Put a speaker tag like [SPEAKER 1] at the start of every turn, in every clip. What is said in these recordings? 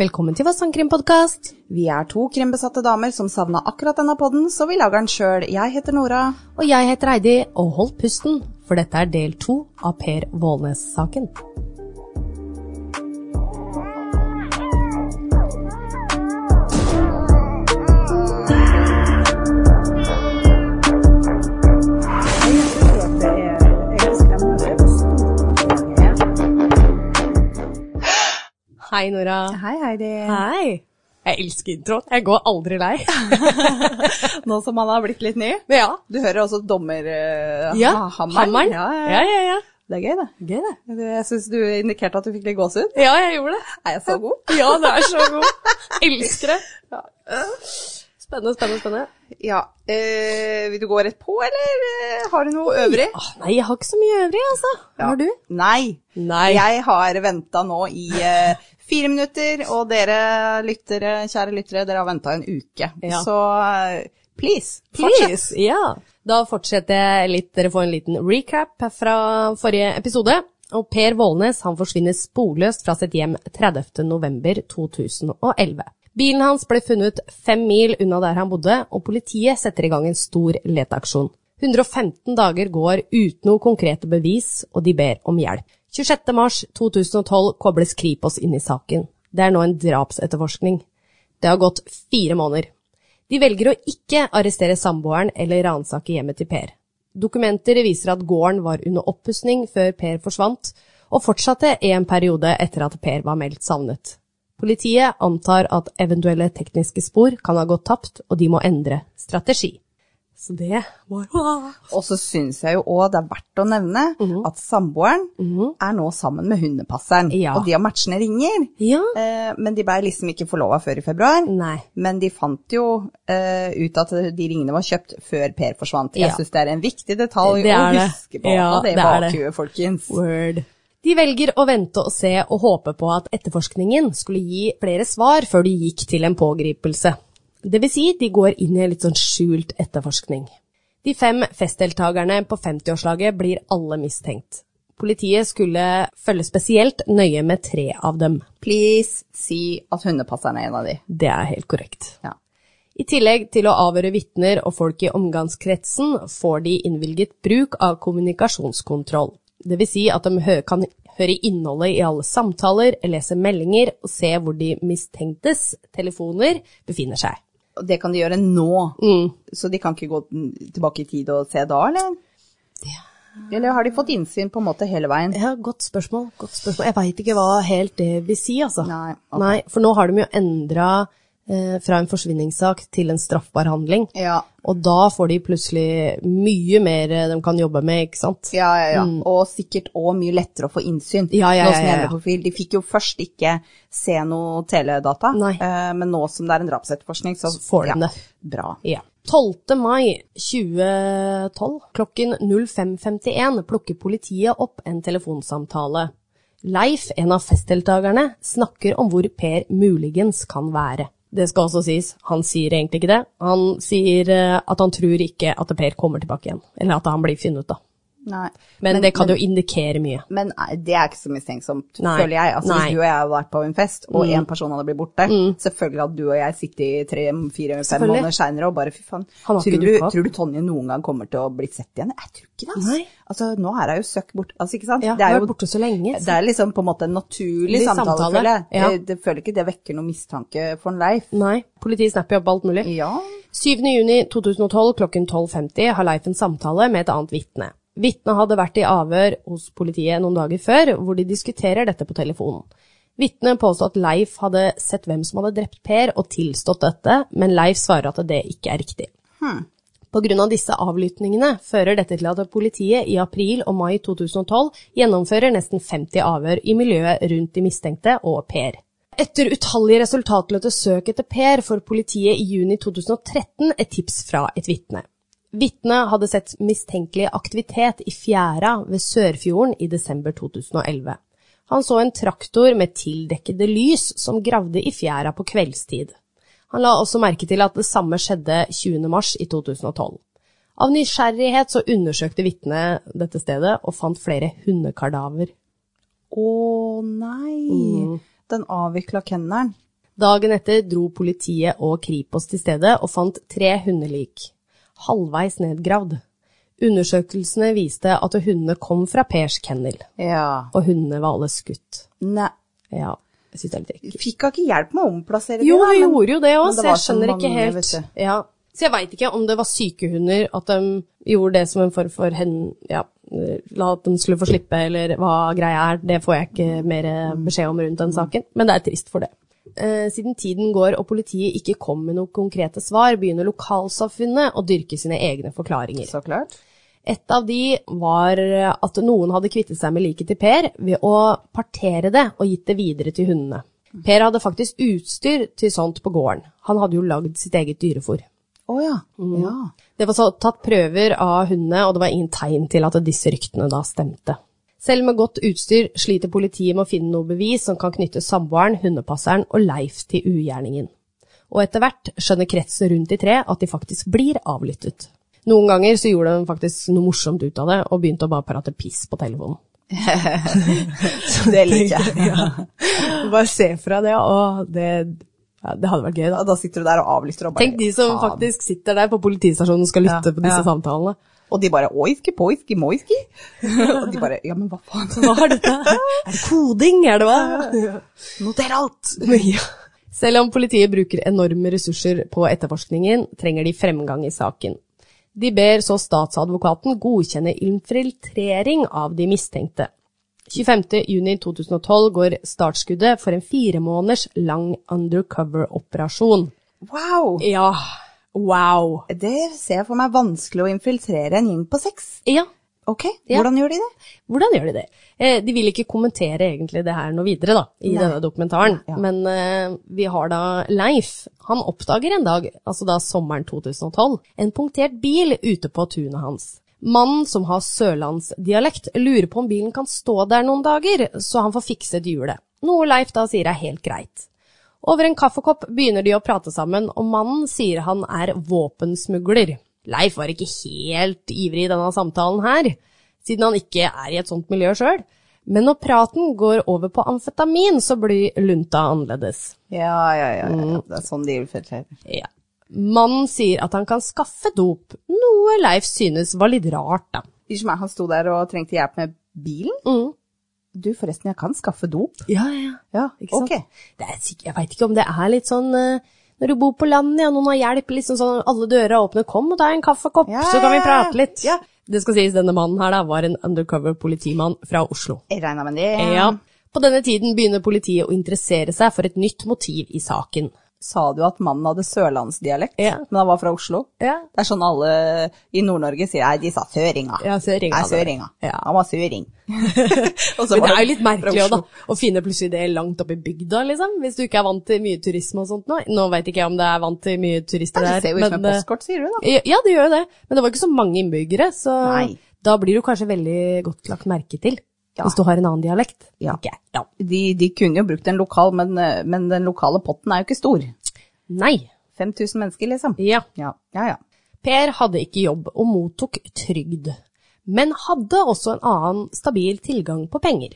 [SPEAKER 1] Velkommen til vår sangkrimpodkast.
[SPEAKER 2] Vi er to krimbesatte damer som savna akkurat denne podden, så vi lager den sjøl. Jeg heter Nora.
[SPEAKER 1] Og jeg heter Heidi, og hold pusten, for dette er del to av Per Vålnes-saken. Hei, Nora.
[SPEAKER 2] Hei, Heidi.
[SPEAKER 1] Hei. Jeg elsker introen. Jeg går aldri lei.
[SPEAKER 2] Nå som han har blitt litt ny.
[SPEAKER 1] ja.
[SPEAKER 2] Du hører også dommerhammeren.
[SPEAKER 1] ja. Ah, Hammeren.
[SPEAKER 2] Ja, ja,
[SPEAKER 1] ja, ja, ja.
[SPEAKER 2] Det er gøy, det.
[SPEAKER 1] Gøy, det.
[SPEAKER 2] Det- Jeg syns du indikerte at du fikk litt gåsehud.
[SPEAKER 1] Ja, jeg gjorde det.
[SPEAKER 2] Er jeg så god?
[SPEAKER 1] Ja, det er så god. Elsker det. Spennende, spennende, spennende.
[SPEAKER 2] Ja. Eh, vil du gå rett på, eller eh, har du noe øvrig?
[SPEAKER 1] Åh, Ah, nei, jeg har ikke så mye øvrig, altså. Har du?
[SPEAKER 2] Nei.
[SPEAKER 1] Nei.
[SPEAKER 2] Jeg har venta nå i eh, fire minutter, og dere lyttere, kjære lyttere, dere har venta en uke.
[SPEAKER 1] Ja.
[SPEAKER 2] Så eh, please,
[SPEAKER 1] Please. Ja. Da fortsetter jeg litt. Dere får en liten recap fra forrige episode. Og Per Vålnes han forsvinner sporløst fra sitt hjem 30.11.2011. Bilen hans ble funnet fem mil unna der han bodde, og politiet setter i gang en stor leteaksjon. 115 dager går uten noe konkrete bevis, og de ber om hjelp. 26.3.2012 kobles Kripos inn i saken. Det er nå en drapsetterforskning. Det har gått fire måneder. De velger å ikke arrestere samboeren eller ransake hjemmet til Per. Dokumenter viser at gården var under oppussing før Per forsvant, og fortsatte i en periode etter at Per var meldt savnet. Politiet antar at eventuelle tekniske spor kan ha gått tapt, og de må endre strategi. Så det var
[SPEAKER 2] Og så syns jeg jo òg det er verdt å nevne
[SPEAKER 1] Mhm.
[SPEAKER 2] at samboeren er nå sammen med hundepasseren,
[SPEAKER 1] Ja.
[SPEAKER 2] og de har matchende ringer.
[SPEAKER 1] Ja.
[SPEAKER 2] Eh, men de ble liksom ikke forlova før i februar.
[SPEAKER 1] Nei.
[SPEAKER 2] Men de fant jo eh, ut at de ringene var kjøpt før Per forsvant. Jeg
[SPEAKER 1] Ja.
[SPEAKER 2] syns det er en viktig detalj
[SPEAKER 1] Det
[SPEAKER 2] å
[SPEAKER 1] er det.
[SPEAKER 2] huske på.
[SPEAKER 1] Ja,
[SPEAKER 2] og det i
[SPEAKER 1] det er det.
[SPEAKER 2] bakhuet, folkens.
[SPEAKER 1] Word. De velger å vente og se og håpe på at etterforskningen skulle gi flere svar før de gikk til en pågripelse. Det vil si, de går inn i en litt sånn skjult etterforskning. De fem festdeltakerne på 50-årslaget blir alle mistenkt. Politiet skulle følge spesielt nøye med tre av dem.
[SPEAKER 2] Please si at hundepasseren er en av de.
[SPEAKER 1] Det er helt korrekt.
[SPEAKER 2] Ja.
[SPEAKER 1] I tillegg til å avhøre vitner og folk i omgangskretsen, får de innvilget bruk av kommunikasjonskontroll. Det vil si at de hø kan høre innholdet i alle samtaler, lese meldinger og se hvor de mistenktes telefoner befinner seg.
[SPEAKER 2] Og det kan de gjøre nå,
[SPEAKER 1] Mm.
[SPEAKER 2] så de kan ikke gå den- tilbake i tid og se da, eller? Eller har de fått innsyn på en måte hele veien?
[SPEAKER 1] Ja, godt spørsmål. Godt spørsmål. Jeg veit ikke hva helt det vil si, altså.
[SPEAKER 2] Nei, ok.
[SPEAKER 1] Nei, for nå har de jo endra eh, fra en forsvinningssak til en straffbar handling.
[SPEAKER 2] Ja,
[SPEAKER 1] Og da får de plutselig mye mer eh, de kan jobbe med, ikke sant?
[SPEAKER 2] Ja, ja, ja. Og sikkert òg mye lettere å få innsyn.
[SPEAKER 1] Mm. Ja, ja,
[SPEAKER 2] nå som
[SPEAKER 1] ja, ja, ja.
[SPEAKER 2] jeg er med på fil. De fikk jo først ikke se noe teledata,
[SPEAKER 1] Nei.
[SPEAKER 2] eh, men nå som det er en drapsetterforskning, så
[SPEAKER 1] Så får de det.
[SPEAKER 2] Bra.
[SPEAKER 1] Ja. 12. mai 2012 klokken 05.51 plukker politiet opp en telefonsamtale. Leif, en av festdeltakerne, snakker om hvor Per muligens kan være. Det skal også sies, han sier egentlig ikke det. Han sier eh, at han tror ikke at Per kommer tilbake igjen, eller at han blir funnet, da.
[SPEAKER 2] Nei.
[SPEAKER 1] Men, det kan jo indikere mye.
[SPEAKER 2] Men eh, det er ikke så mistenksomt,
[SPEAKER 1] Nei.
[SPEAKER 2] føler jeg. Altså,
[SPEAKER 1] Nei. Mm.
[SPEAKER 2] hvis du og jeg hadde vært på en fest, og én person hadde blitt borte, selvfølgelig hadde du og jeg sittet i tre-fire-fem
[SPEAKER 1] Selvfølgelig.
[SPEAKER 2] måneder seinere og bare fy faen,
[SPEAKER 1] Han har
[SPEAKER 2] tror
[SPEAKER 1] ikke
[SPEAKER 2] du,
[SPEAKER 1] dukket opp.
[SPEAKER 2] tror du Tonje noen gang kommer til å bli sett igjen? Jeg tror ikke det. Altså,
[SPEAKER 1] Nei.
[SPEAKER 2] altså nå er hun jo søkk bort, altså, ikke sant?
[SPEAKER 1] Ja,
[SPEAKER 2] Det er
[SPEAKER 1] hun har
[SPEAKER 2] jo-
[SPEAKER 1] vært borte så lenge, så-
[SPEAKER 2] Det er liksom på en måte en naturlig
[SPEAKER 1] Litt
[SPEAKER 2] samtale,
[SPEAKER 1] samtale,
[SPEAKER 2] føler jeg.
[SPEAKER 1] ja.
[SPEAKER 2] Jeg, jeg føler ikke det vekker noen mistanke for en Leif.
[SPEAKER 1] Nei, politiet snapper jo opp alt mulig.
[SPEAKER 2] Ja.
[SPEAKER 1] 7.6.2012 klokken 12.50 har Leif en samtale med et annet vitne. Vitnet hadde vært i avhør hos politiet noen dager før, hvor de diskuterer dette på telefonen. Vitnet påstod at Leif hadde sett hvem som hadde drept Per og tilstått dette, men Leif svarer at det ikke er riktig. På grunn av disse avlyttingene fører dette til at politiet i april og mai 2012 gjennomfører nesten 50 avhør i miljøet rundt de mistenkte og Per. Etter utallige resultatløse søk etter Per får politiet i juni 2013 et tips fra et vitne. Vitnet hadde sett mistenkelig aktivitet i fjæra ved Sørfjorden i desember 2011. Han så en traktor med tildekkede lys som gravde i fjæra på kveldstid. Han la også merke til at det samme skjedde 20. mars i 2012. Av nysgjerrighet så undersøkte vitnet dette stedet og fant flere hundekardaver. Mm.
[SPEAKER 2] Å nei. Den avvikla kennelen.
[SPEAKER 1] Dagen etter dro politiet og Kripos til stedet og fant tre hundelik, halvveis nedgravd. Undersøkelsene viste at hundene kom fra Pers kennel,
[SPEAKER 2] Ja.
[SPEAKER 1] og hundene var alle skutt.
[SPEAKER 2] Nei,
[SPEAKER 1] Ja, jeg synes det er litt ekkelt.
[SPEAKER 2] fikk hun ikke hjelp med å omplassere
[SPEAKER 1] Jo,
[SPEAKER 2] det? da,
[SPEAKER 1] hun
[SPEAKER 2] men-
[SPEAKER 1] gjorde jo det
[SPEAKER 2] men
[SPEAKER 1] òg, så
[SPEAKER 2] var
[SPEAKER 1] jeg
[SPEAKER 2] så
[SPEAKER 1] skjønner ikke
[SPEAKER 2] mange,
[SPEAKER 1] helt.
[SPEAKER 2] vet du.
[SPEAKER 1] Ja. Så jeg veit ikke om det var syke hunder, at de gjorde det som en form for hen... Ja, la at de skulle få slippe, eller hva greia er. Det får jeg ikke mer eh,
[SPEAKER 2] Mm.
[SPEAKER 1] beskjed om rundt den saken, men det er trist for det. Eh, Siden tiden går og politiet ikke kom med noen konkrete svar, begynner lokalsamfunnet å dyrke sine egne forklaringer.
[SPEAKER 2] Så klart.
[SPEAKER 1] Et av de var at noen hadde kvittet seg med liket til Per ved å partere det og gitt det videre til hundene. Per hadde faktisk utstyr til sånt på gården. Han hadde jo lagd sitt eget dyrefôr.
[SPEAKER 2] Å ja. ja.
[SPEAKER 1] Det var så tatt prøver av hundene, og det var ingen tegn til at disse ryktene da stemte. Selv med godt utstyr sliter politiet med å finne noe bevis som kan knytte samboeren, hundepasseren og Leif til ugjerningen. Og etter hvert skjønner kretsen rundt de tre at de faktisk blir avlyttet. Noen ganger så gjorde de faktisk noe morsomt ut av det, og begynte å bare prate piss på telefonen.
[SPEAKER 2] Det liker jeg.
[SPEAKER 1] Bare se fra det, og det, hadde vært gøy
[SPEAKER 2] Ja, da sitter du der og avlytter og bare
[SPEAKER 1] Tenk de som
[SPEAKER 2] faen.
[SPEAKER 1] faktisk sitter der på politistasjonen og skal lytte
[SPEAKER 2] Ja,
[SPEAKER 1] på disse
[SPEAKER 2] ja.
[SPEAKER 1] samtalene.
[SPEAKER 2] Og de bare oiski, poiski, moiski. og de bare Ja, men hva faen?
[SPEAKER 1] Hva er dette? Er det koding, er det hva?
[SPEAKER 2] Noter alt!
[SPEAKER 1] Ja. Selv om politiet bruker enorme ressurser på etterforskningen, trenger de fremgang i saken. De ber så statsadvokaten godkjenne infiltrering av de mistenkte. 25.6.2012 går startskuddet for en fire måneders lang undercover-operasjon.
[SPEAKER 2] Wow!
[SPEAKER 1] Ja, wow.
[SPEAKER 2] Det ser jeg for meg vanskelig å infiltrere en gjeng på seks.
[SPEAKER 1] Ja,
[SPEAKER 2] Ok,
[SPEAKER 1] Ja.
[SPEAKER 2] hvordan gjør de det?
[SPEAKER 1] Hvordan gjør de det? Eh, de vil ikke kommentere egentlig det her noe videre da, i
[SPEAKER 2] Nei.
[SPEAKER 1] denne dokumentaren.
[SPEAKER 2] Ja.
[SPEAKER 1] Men eh, vi har da Leif. Han oppdager en dag, altså da sommeren 2012, en punktert bil ute på tunet hans. Mannen som har sørlandsdialekt lurer på om bilen kan stå der noen dager, så han får fikset hjulet. Noe Leif da sier er helt greit. Over en kaffekopp begynner de å prate sammen, og mannen sier han er våpensmugler. Leif var ikke helt ivrig i denne samtalen her, siden han ikke er i et sånt miljø sjøl. Men når praten går over på amfetamin, så blir lunta annerledes.
[SPEAKER 2] Ja, ja, ja. ja,
[SPEAKER 1] Mm.
[SPEAKER 2] ja. Det er sånn de infiltrerer.
[SPEAKER 1] Ja. Mannen sier at han kan skaffe dop, noe Leif synes var litt rart, da.
[SPEAKER 2] Ikke som meg, han sto der og trengte hjelp med bilen. Du, forresten, jeg kan skaffe dop.
[SPEAKER 1] Ja, ja, Mm. ja.
[SPEAKER 2] Ja,
[SPEAKER 1] Ikke sant?
[SPEAKER 2] ok.
[SPEAKER 1] Det er sikkert, jeg veit ikke om det er litt sånn eh, når du bor på landet, ja, noen har hjelp, liksom sånn alle dører er åpne, kom og ta en kaffekopp,
[SPEAKER 2] Ja,
[SPEAKER 1] så kan vi
[SPEAKER 2] ja, ja.
[SPEAKER 1] prate litt.
[SPEAKER 2] Ja.
[SPEAKER 1] Det skal sies, denne mannen her da, var en undercover politimann fra Oslo.
[SPEAKER 2] Jeg regner med det.
[SPEAKER 1] Ja. På denne tiden begynner politiet å interessere seg for et nytt motiv i saken.
[SPEAKER 2] Sa du at mannen hadde sørlandsdialekt,
[SPEAKER 1] Ja.
[SPEAKER 2] men han var fra Oslo?
[SPEAKER 1] Ja.
[SPEAKER 2] Det er sånn alle i Nord-Norge sier nei, de sa søringa.
[SPEAKER 1] Ja, søringa,
[SPEAKER 2] Nei,
[SPEAKER 1] det.
[SPEAKER 2] søringa.
[SPEAKER 1] Ja.
[SPEAKER 2] Han var søring. Og så
[SPEAKER 1] Men det
[SPEAKER 2] var
[SPEAKER 1] er jo litt
[SPEAKER 2] han
[SPEAKER 1] merkelig
[SPEAKER 2] fra
[SPEAKER 1] også,
[SPEAKER 2] Oslo.
[SPEAKER 1] da, å finne plutselig det langt oppe i bygda, liksom, hvis du ikke er vant til mye turisme og sånt nå. Nå veit ikke jeg om det er vant til mye turister
[SPEAKER 2] Det
[SPEAKER 1] der.
[SPEAKER 2] ser jo ut som et
[SPEAKER 1] men, eh,
[SPEAKER 2] postkort, sier du da.
[SPEAKER 1] Ja, ja, det gjør jo det. Men det var ikke så mange innbyggere, så
[SPEAKER 2] Nei.
[SPEAKER 1] da blir du kanskje veldig godt lagt merke til.
[SPEAKER 2] Ja.
[SPEAKER 1] Hvis du har en annen dialekt.
[SPEAKER 2] Ja.
[SPEAKER 1] tenker jeg. ja.
[SPEAKER 2] De, de kunne jo brukt en lokal, men, eh, men den lokale potten er jo ikke stor.
[SPEAKER 1] Nei.
[SPEAKER 2] 5000 mennesker, liksom.
[SPEAKER 1] Ja.
[SPEAKER 2] Ja, ja, ja.
[SPEAKER 1] Per hadde ikke jobb og mottok trygd, men hadde også en annen stabil tilgang på penger.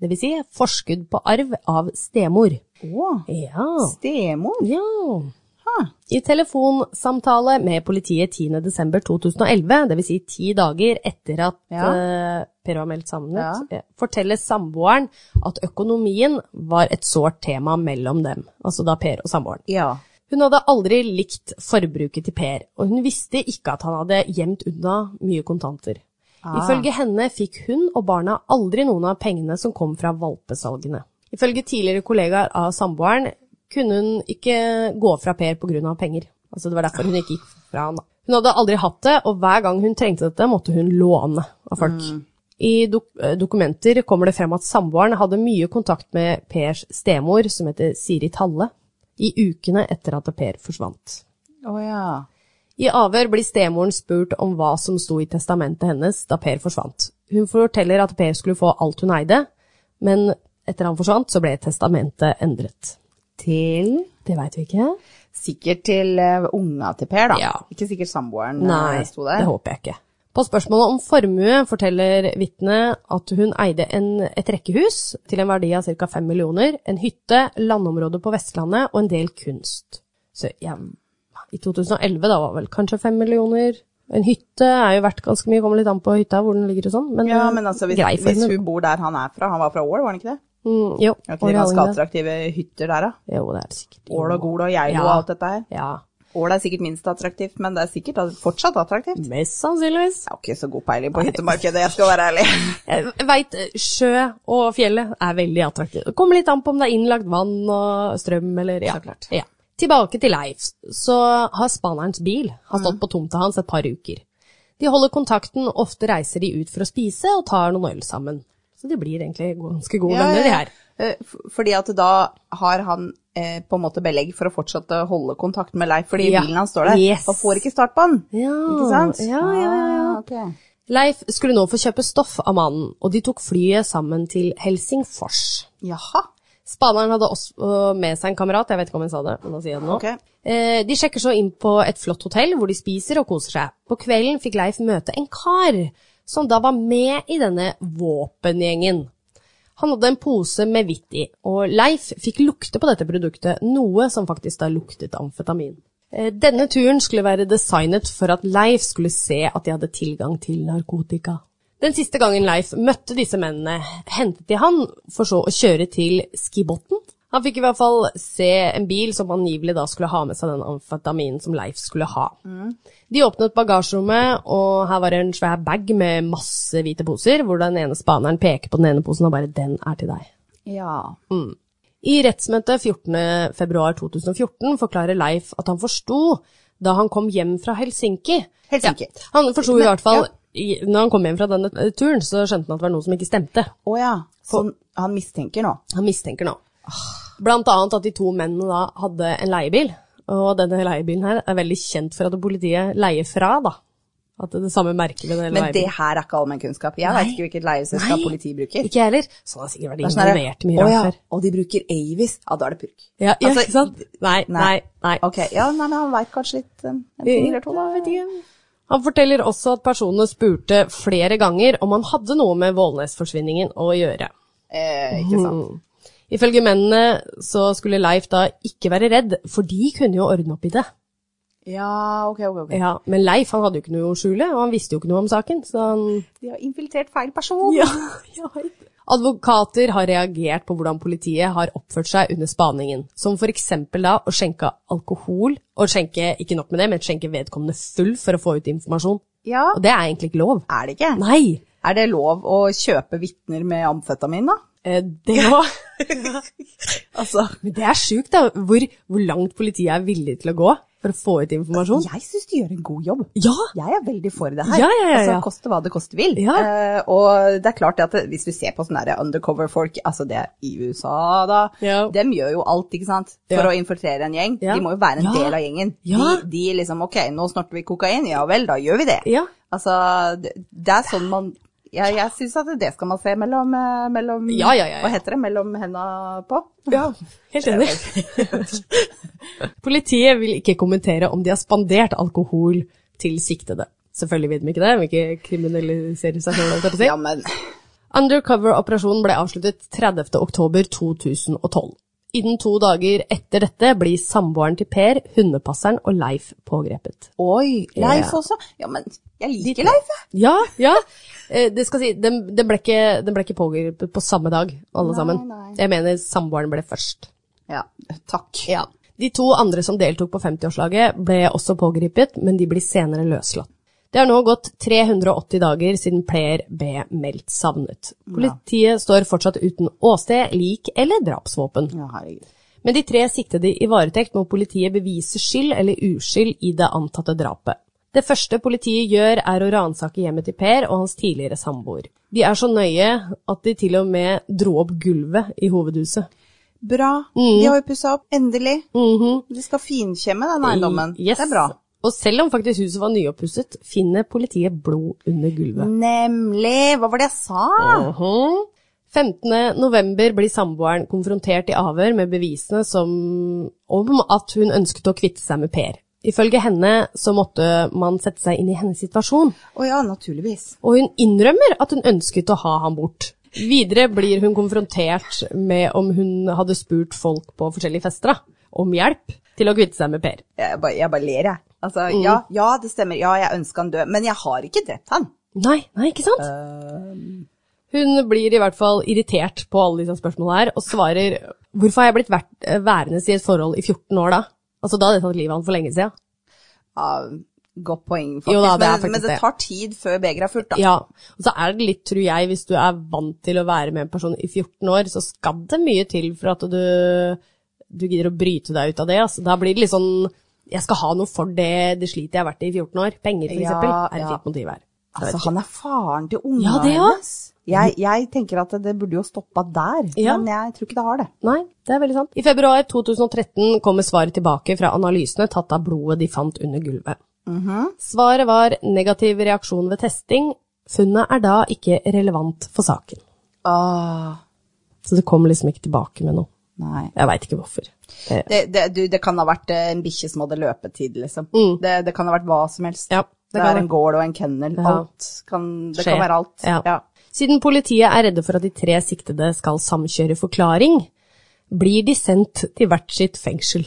[SPEAKER 1] Det vil si forskudd på arv av stemor.
[SPEAKER 2] Å,
[SPEAKER 1] Ja.
[SPEAKER 2] stemor.
[SPEAKER 1] ja.
[SPEAKER 2] Ha.
[SPEAKER 1] I telefonsamtale med politiet 10.12.2011, dvs. Si ti dager etter at
[SPEAKER 2] Ja.
[SPEAKER 1] eh, Per var meldt savnet,
[SPEAKER 2] Ja.
[SPEAKER 1] eh, forteller samboeren at økonomien var et sårt tema mellom dem, altså da Per og samboeren.
[SPEAKER 2] Ja.
[SPEAKER 1] Hun hadde aldri likt forbruket til Per, og hun visste ikke at han hadde gjemt unna mye kontanter.
[SPEAKER 2] Ah.
[SPEAKER 1] Ifølge henne fikk hun og barna aldri noen av pengene som kom fra valpesalgene. Ifølge tidligere kollegaer av samboeren kunne hun ikke gå fra Per pga. penger. Altså det var derfor hun ikke gikk fra han. da. Hun hadde aldri hatt det, og hver gang hun trengte dette, måtte hun låne av folk. I dok eh, dokumenter kommer det frem at samboeren hadde mye kontakt med Pers stemor, som heter Siri Talle, i ukene etter at Per forsvant.
[SPEAKER 2] Å ja.
[SPEAKER 1] I avhør blir stemoren spurt om hva som sto i testamentet hennes da Per forsvant. Hun forteller at Per skulle få alt hun eide, men etter han forsvant, så ble testamentet endret.
[SPEAKER 2] Til
[SPEAKER 1] Det veit vi ikke.
[SPEAKER 2] Sikkert til eh, unga til Per, da.
[SPEAKER 1] Ja.
[SPEAKER 2] Ikke sikkert samboeren eh,
[SPEAKER 1] Nei,
[SPEAKER 2] sto der.
[SPEAKER 1] det håper jeg ikke. På spørsmålet om formue forteller vitnet at hun eide en, et rekkehus til en verdi av ca. 5 millioner, en hytte, landområde på Vestlandet og en del kunst. Så ja, i 2011 da var vel kanskje 5 millioner. En hytte er jo verdt ganske mye, kommer litt an på hytta hvor den ligger og sånn, men,
[SPEAKER 2] Ja, men altså, hvis,
[SPEAKER 1] grei
[SPEAKER 2] hvis
[SPEAKER 1] formue.
[SPEAKER 2] hun bor der han er fra, han var fra Ål, var han ikke det?
[SPEAKER 1] Mm, jo,
[SPEAKER 2] Det
[SPEAKER 1] og
[SPEAKER 2] er ikke det ganske
[SPEAKER 1] Rallingen.
[SPEAKER 2] attraktive hytter der, da?
[SPEAKER 1] Jo, det er det sikkert.
[SPEAKER 2] Ål og Gol og Geilo
[SPEAKER 1] Ja.
[SPEAKER 2] og alt dette her.
[SPEAKER 1] Ja,
[SPEAKER 2] Ål er sikkert minst attraktivt, men det er sikkert at- fortsatt attraktivt.
[SPEAKER 1] mest sannsynligvis.
[SPEAKER 2] Jeg har ikke så god peiling på hyttemarkedet, jeg skal være ærlig.
[SPEAKER 1] Jeg veit sjø og fjellet er veldig attraktivt. Det kommer litt an på om det er innlagt vann og strøm eller ja. ja. Tilbake til Leif, så har spanerens bil har
[SPEAKER 2] Mhm.
[SPEAKER 1] stått på tomta hans et par uker. De holder kontakten, ofte reiser de ut for å spise og tar noen øl sammen. Så de blir egentlig ganske gode
[SPEAKER 2] Ja,
[SPEAKER 1] venner, de
[SPEAKER 2] ja.
[SPEAKER 1] her.
[SPEAKER 2] Eh, f- Fordi at da har han eh, på en måte belegg for å fortsette å holde kontakt med Leif, fordi
[SPEAKER 1] Ja.
[SPEAKER 2] bilen hans står der.
[SPEAKER 1] Yes.
[SPEAKER 2] Og får ikke start på den.
[SPEAKER 1] Ja,
[SPEAKER 2] Ikke sant?
[SPEAKER 1] Ja, ja, ja. ja.
[SPEAKER 2] Ah, ok.
[SPEAKER 1] Leif skulle nå få kjøpe stoff av mannen, og de tok flyet sammen til Helsingfors.
[SPEAKER 2] Jaha.
[SPEAKER 1] Spaneren hadde også med seg en kamerat, jeg vet ikke om han sa det, men han sier det nå.
[SPEAKER 2] Ok.
[SPEAKER 1] Eh, De sjekker så inn på et flott hotell hvor de spiser og koser seg. På kvelden fikk Leif møte en kar som da var med i denne våpengjengen. Han hadde en pose med hvitt i, og Leif fikk lukte på dette produktet, noe som faktisk da luktet amfetamin. Eh, Denne turen skulle være designet for at Leif skulle se at de hadde tilgang til narkotika. Den siste gangen Leif møtte disse mennene, hentet de han for så å kjøre til Skibotn. Han fikk i hvert fall se en bil som angivelig da skulle ha med seg den amfetaminen som Leif skulle ha. De åpnet bagasjerommet, og her var det en svær bag med masse hvite poser, hvor den ene spaneren peker på den ene posen og bare 'den er til deg'.
[SPEAKER 2] Ja.
[SPEAKER 1] I rettsmøtet 14.2.2014 forklarer Leif at han forsto da han kom hjem fra Helsinki.
[SPEAKER 2] Helsinki.
[SPEAKER 1] Ja, han forsto i hvert fall i- når han kom hjem fra denne eh, turen, så skjønte han at det var noe som ikke stemte.
[SPEAKER 2] Å ja. Så han mistenker nå.
[SPEAKER 1] Han mistenker nå. Blant annet at de to mennene da hadde en leiebil, og denne leiebilen her er veldig kjent for at politiet leier fra, da. At det er det samme merket ved den
[SPEAKER 2] Men det
[SPEAKER 1] leiebilen.
[SPEAKER 2] her er ikke allmennkunnskap. Jeg vet ikke hvilket leieselskap
[SPEAKER 1] Nei.
[SPEAKER 2] politiet bruker.
[SPEAKER 1] Ikke jeg heller. Så han har sikkert vært
[SPEAKER 2] Det er sånn der-
[SPEAKER 1] involvert mye
[SPEAKER 2] Å
[SPEAKER 1] rart
[SPEAKER 2] ja,
[SPEAKER 1] før.
[SPEAKER 2] Og de bruker Avis. Ja, da er det purk.
[SPEAKER 1] Ja, ja,
[SPEAKER 2] Altså,
[SPEAKER 1] ikke sant? Nei, nei, nei.
[SPEAKER 2] Ok, ja, nei, men han veit kanskje litt um, en ting eller to, da.
[SPEAKER 1] Jeg vet ikke. Han forteller også at personene spurte flere ganger om han hadde noe med Vålnes-forsvinningen å gjøre.
[SPEAKER 2] Eh, ikke sant.
[SPEAKER 1] Ifølge mennene så skulle Leif da ikke være redd, for de kunne jo ordne opp i det.
[SPEAKER 2] Ja, ok, ok. ok.
[SPEAKER 1] Ja, men Leif han hadde jo ikke noe å skjule, og han visste jo ikke noe om saken, så han
[SPEAKER 2] De har infiltrert feil person.
[SPEAKER 1] Advokater har reagert på hvordan politiet har oppført seg under spaningen, som for eksempel da å skjenke alkohol, og skjenke, ikke nok med det, men skjenke vedkommende full for å få ut informasjon.
[SPEAKER 2] Ja,
[SPEAKER 1] Og det er egentlig ikke lov.
[SPEAKER 2] Er det ikke?
[SPEAKER 1] Nei!
[SPEAKER 2] Er det lov å kjøpe vitner med amfetamin, da?
[SPEAKER 1] Eh, Det,
[SPEAKER 2] Altså,
[SPEAKER 1] men det er sjukt, da, hvor, hvor langt politiet er villig til å gå for å få ut informasjon.
[SPEAKER 2] jeg syns de gjør en god jobb.
[SPEAKER 1] Ja!
[SPEAKER 2] Jeg er veldig for det her.
[SPEAKER 1] Ja, ja, ja, ja.
[SPEAKER 2] Altså, koste hva det koste vil.
[SPEAKER 1] Ja.
[SPEAKER 2] Eh, og det er klart det at det, hvis du ser på sånne der undercover-folk, altså det er i USA da,
[SPEAKER 1] Ja.
[SPEAKER 2] dem gjør jo alt, ikke sant, for
[SPEAKER 1] Ja.
[SPEAKER 2] å infiltrere en gjeng.
[SPEAKER 1] Ja.
[SPEAKER 2] De må jo være
[SPEAKER 1] Ja.
[SPEAKER 2] en del av gjengen.
[SPEAKER 1] Ja.
[SPEAKER 2] De, de liksom, ok, nå snorter vi kokain, ja vel, da gjør vi det.
[SPEAKER 1] Ja.
[SPEAKER 2] Altså, det, det er sånn man... Ja, jeg synes at det skal man se mellom, eh, mellom
[SPEAKER 1] Ja, ja, ja, ja.
[SPEAKER 2] Hva heter det? Mellom hendene på?
[SPEAKER 1] Ja, helt enig. Politiet vil ikke kommentere om de har spandert alkohol til siktede. Selvfølgelig vil de ikke det, de vil ikke kriminalisere seg selv. holdt jeg på å si.
[SPEAKER 2] Ja, men...
[SPEAKER 1] Undercover-operasjonen ble avsluttet 30. oktober 2012. Innen to dager etter dette blir samboeren til Per, hundepasseren og Leif pågrepet.
[SPEAKER 2] Oi, Leif
[SPEAKER 1] Ja.
[SPEAKER 2] også? Ja, men jeg liker Leif, jeg.
[SPEAKER 1] Ja, ja. Eh, Det skal si, den, den, ble ikke, den ble ikke pågrepet på samme dag, alle
[SPEAKER 2] Nei,
[SPEAKER 1] sammen.
[SPEAKER 2] nei.
[SPEAKER 1] Jeg mener samboeren ble først.
[SPEAKER 2] Ja, takk.
[SPEAKER 1] Ja. De to andre som deltok på 50-årslaget ble også pågrepet, men de blir senere løslatt. Det har nå gått 380 dager siden Per ble meldt savnet. Politiet står fortsatt uten åsted, lik eller drapsvåpen.
[SPEAKER 2] Ja, herregud.
[SPEAKER 1] Med de tre siktede i varetekt må politiet bevise skyld eller uskyld i det antatte drapet. Det første politiet gjør er å ransake hjemmet til Per og hans tidligere samboer. De er så nøye at de til og med dro opp gulvet i hovedhuset.
[SPEAKER 2] Bra.
[SPEAKER 1] Mhm.
[SPEAKER 2] De har jo pussa opp, endelig. De skal finkjemme den eiendommen.
[SPEAKER 1] Yes.
[SPEAKER 2] Det er bra.
[SPEAKER 1] Og selv om faktisk huset var nyoppusset, finner politiet blod under gulvet.
[SPEAKER 2] Nemlig. Hva var det jeg sa?
[SPEAKER 1] 15. november blir samboeren konfrontert i avhør med bevisene som om at hun ønsket å kvitte seg med Per. Ifølge henne så måtte man sette seg inn i hennes situasjon,
[SPEAKER 2] Å ja, naturligvis.
[SPEAKER 1] og hun innrømmer at hun ønsket å ha ham bort. Videre blir hun konfrontert med om hun hadde spurt folk på forskjellige fester da, om hjelp til å kvitte seg med Per.
[SPEAKER 2] Jeg bare, jeg bare ler, jeg. Altså,
[SPEAKER 1] Mhm.
[SPEAKER 2] ja, ja, det stemmer. Ja, jeg ønsker han død, men jeg har ikke drept han.
[SPEAKER 1] Nei, nei, ikke sant? Eh, Hun blir i hvert fall irritert på alle disse spørsmålene her, og svarer hvorfor har jeg blitt vært, eh, værende i et forhold i 14 år da? Altså da hadde jeg tatt livet av han for lenge siden.
[SPEAKER 2] Ja, godt poeng, faktisk.
[SPEAKER 1] Jo da, det er
[SPEAKER 2] men,
[SPEAKER 1] faktisk
[SPEAKER 2] men det
[SPEAKER 1] det.
[SPEAKER 2] tar tid før begeret er fullt, da.
[SPEAKER 1] Ja, og så er det litt, tror jeg, hvis du er vant til å være med en person i 14 år, så skal det mye til for at du, du gidder å bryte deg ut av det. Altså, da blir det litt sånn, jeg skal ha noe for det, det slitet jeg har vært i i 14 år. Penger for
[SPEAKER 2] Ja,
[SPEAKER 1] eksempel, er et
[SPEAKER 2] ja.
[SPEAKER 1] fint motiv her. Jeg vet
[SPEAKER 2] Altså,
[SPEAKER 1] ikke.
[SPEAKER 2] han er faren til ungene
[SPEAKER 1] Ja, det, ja.
[SPEAKER 2] hennes. Jeg, jeg tenker at det burde jo stoppa der,
[SPEAKER 1] Ja.
[SPEAKER 2] men jeg tror ikke det har det.
[SPEAKER 1] Nei, det er veldig sant. I februar 2013 kommer svaret tilbake fra analysene tatt av blodet de fant under gulvet. Svaret var negativ reaksjon ved testing. Funnet er da ikke relevant for saken.
[SPEAKER 2] Ah,
[SPEAKER 1] Så det kom liksom ikke tilbake med noe.
[SPEAKER 2] nei.
[SPEAKER 1] Jeg veit ikke hvorfor. Eh,
[SPEAKER 2] Det, det, du, det kan ha vært eh, en bikkje som hadde løpetid, liksom. Det, det kan ha vært hva som helst.
[SPEAKER 1] Mm. Ja, det
[SPEAKER 2] det,
[SPEAKER 1] kan
[SPEAKER 2] er
[SPEAKER 1] det.
[SPEAKER 2] en gård og en kennel.
[SPEAKER 1] Ja.
[SPEAKER 2] Alt kan, det
[SPEAKER 1] skjer.
[SPEAKER 2] kan være alt.
[SPEAKER 1] Ja. Siden politiet er redde for at de tre siktede skal samkjøre forklaring, blir de sendt til hvert sitt fengsel.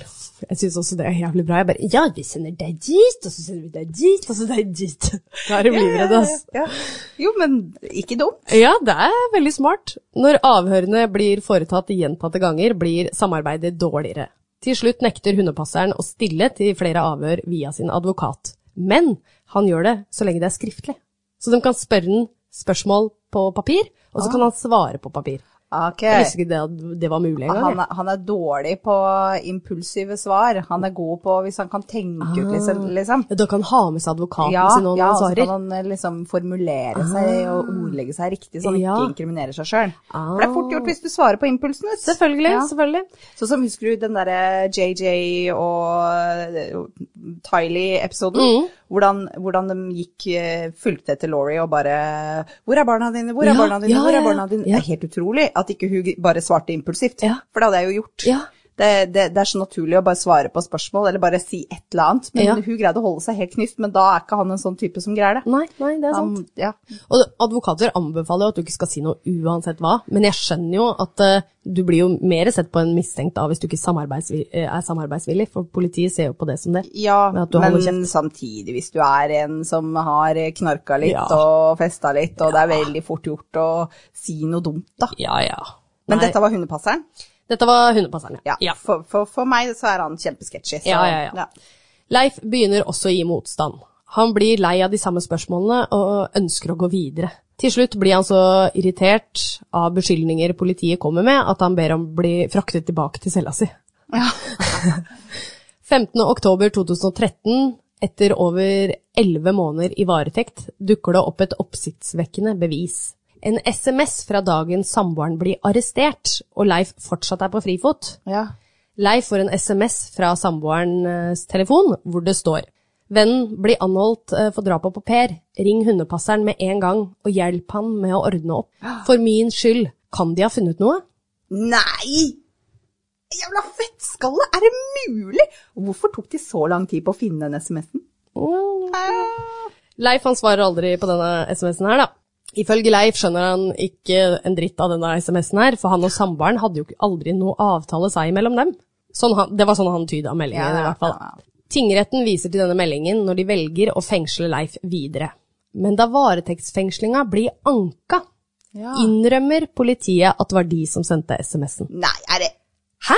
[SPEAKER 1] Jeg syns også det er jævlig bra. Jeg bare Ja, vi sender deg dit, og så sender vi deg dit, og så deg dit. Da er de livredde, ass.
[SPEAKER 2] Ja. Jo, men ikke dumt.
[SPEAKER 1] Ja, det er veldig smart. Når avhørene blir foretatt gjentatte ganger, blir samarbeidet dårligere. Til slutt nekter hundepasseren å stille til flere avhør via sin advokat. Men han gjør det så lenge det er skriftlig. Så de kan spørre han spørsmål på papir, og så kan han svare på papir.
[SPEAKER 2] Ok.
[SPEAKER 1] Jeg visste ikke det, at det var mulig engang.
[SPEAKER 2] Han
[SPEAKER 1] jeg.
[SPEAKER 2] er, han er dårlig på impulsive svar. Han er god på hvis han kan tenke ut, liksom. liksom.
[SPEAKER 1] Ja, Da kan han ha med seg advokaten
[SPEAKER 2] Ja,
[SPEAKER 1] Ah. sin når
[SPEAKER 2] ja,
[SPEAKER 1] han
[SPEAKER 2] og så
[SPEAKER 1] svarer. Ah.
[SPEAKER 2] kan han eh, liksom formulere seg og ordlegge seg riktig, så han
[SPEAKER 1] Ja. Ah.
[SPEAKER 2] ikke inkriminerer seg sjøl. For det er fort gjort hvis du svarer på impulsen. vet du.
[SPEAKER 1] Selvfølgelig,
[SPEAKER 2] Ja.
[SPEAKER 1] selvfølgelig.
[SPEAKER 2] Sånn som husker du den derre JJ og eh, Tylee-episoden?
[SPEAKER 1] Mm.
[SPEAKER 2] Hvordan, hvordan de gikk, eh, fulgte etter Laurie og bare 'Hvor er barna dine? Hvor er
[SPEAKER 1] Ja,
[SPEAKER 2] barna dine?
[SPEAKER 1] ja,
[SPEAKER 2] Hvor
[SPEAKER 1] ja,
[SPEAKER 2] er
[SPEAKER 1] ja.
[SPEAKER 2] barna dine?' Det er helt utrolig at ikke hun bare svarte impulsivt,
[SPEAKER 1] Ja.
[SPEAKER 2] for det hadde jeg jo gjort.
[SPEAKER 1] Ja.
[SPEAKER 2] Det, det, det er så naturlig å bare svare på spørsmål eller bare si et eller annet. Men
[SPEAKER 1] Ja.
[SPEAKER 2] hun greide å holde seg helt knust, men da er ikke han en sånn type som greier det.
[SPEAKER 1] Nei, nei, det er sant.
[SPEAKER 2] Han- ja.
[SPEAKER 1] Og advokater anbefaler jo at du ikke skal si noe uansett hva, men jeg skjønner jo at eh, du blir jo mer sett på en mistenkt da hvis du ikke samarbeidsvi- eh, er samarbeidsvillig, for politiet ser jo på det som det.
[SPEAKER 2] Ja,
[SPEAKER 1] Men at du holder
[SPEAKER 2] men samtidig, hvis du er en som har knarka litt
[SPEAKER 1] Ja.
[SPEAKER 2] og festa litt, og det er veldig fort gjort å si noe dumt, da.
[SPEAKER 1] Ja, ja.
[SPEAKER 2] Men
[SPEAKER 1] Nei,
[SPEAKER 2] dette var hundepasseren?
[SPEAKER 1] dette var hundepasseren,
[SPEAKER 2] Ja. For, for, for meg så er han kjempesketsjy. så-
[SPEAKER 1] Ja, ja, ja. Leif begynner også å gi motstand. Han blir lei av de samme spørsmålene og ønsker å gå videre. Til slutt blir han så irritert av beskyldninger politiet kommer med, at han ber om å bli fraktet tilbake til cella si. 15. oktober 2013, etter over 11 måneder i varetekt, dukker det opp et oppsiktsvekkende bevis. En SMS fra dagens samboeren blir arrestert, og Leif fortsatt er på frifot.
[SPEAKER 2] Ja.
[SPEAKER 1] Leif får en SMS fra samboerens telefon hvor det står Vennen blir anholdt eh, for drapet på Per. Ring hundepasseren med en gang og hjelp han med å ordne opp. For min skyld, kan de ha funnet noe?
[SPEAKER 2] Nei! Jævla fettskalle! Er det mulig? Hvorfor tok de så lang tid på å finne den SMS-en?
[SPEAKER 1] Leif han svarer aldri på denne SMS-en her, da. Ifølge Leif skjønner han ikke en dritt av denne SMS-en her, for han og samboeren hadde jo ikke- aldri noe avtale seg imellom dem. Sånn han, det var sånn han tyda meldingen,
[SPEAKER 2] Ja,
[SPEAKER 1] i hvert fall.
[SPEAKER 2] ja, ja.
[SPEAKER 1] Tingretten viser til denne meldingen når de velger å fengsle Leif videre. Men da varetektsfengslinga blir anka, innrømmer politiet at det var de som sendte SMS-en.
[SPEAKER 2] Nei, er det
[SPEAKER 1] Hæ?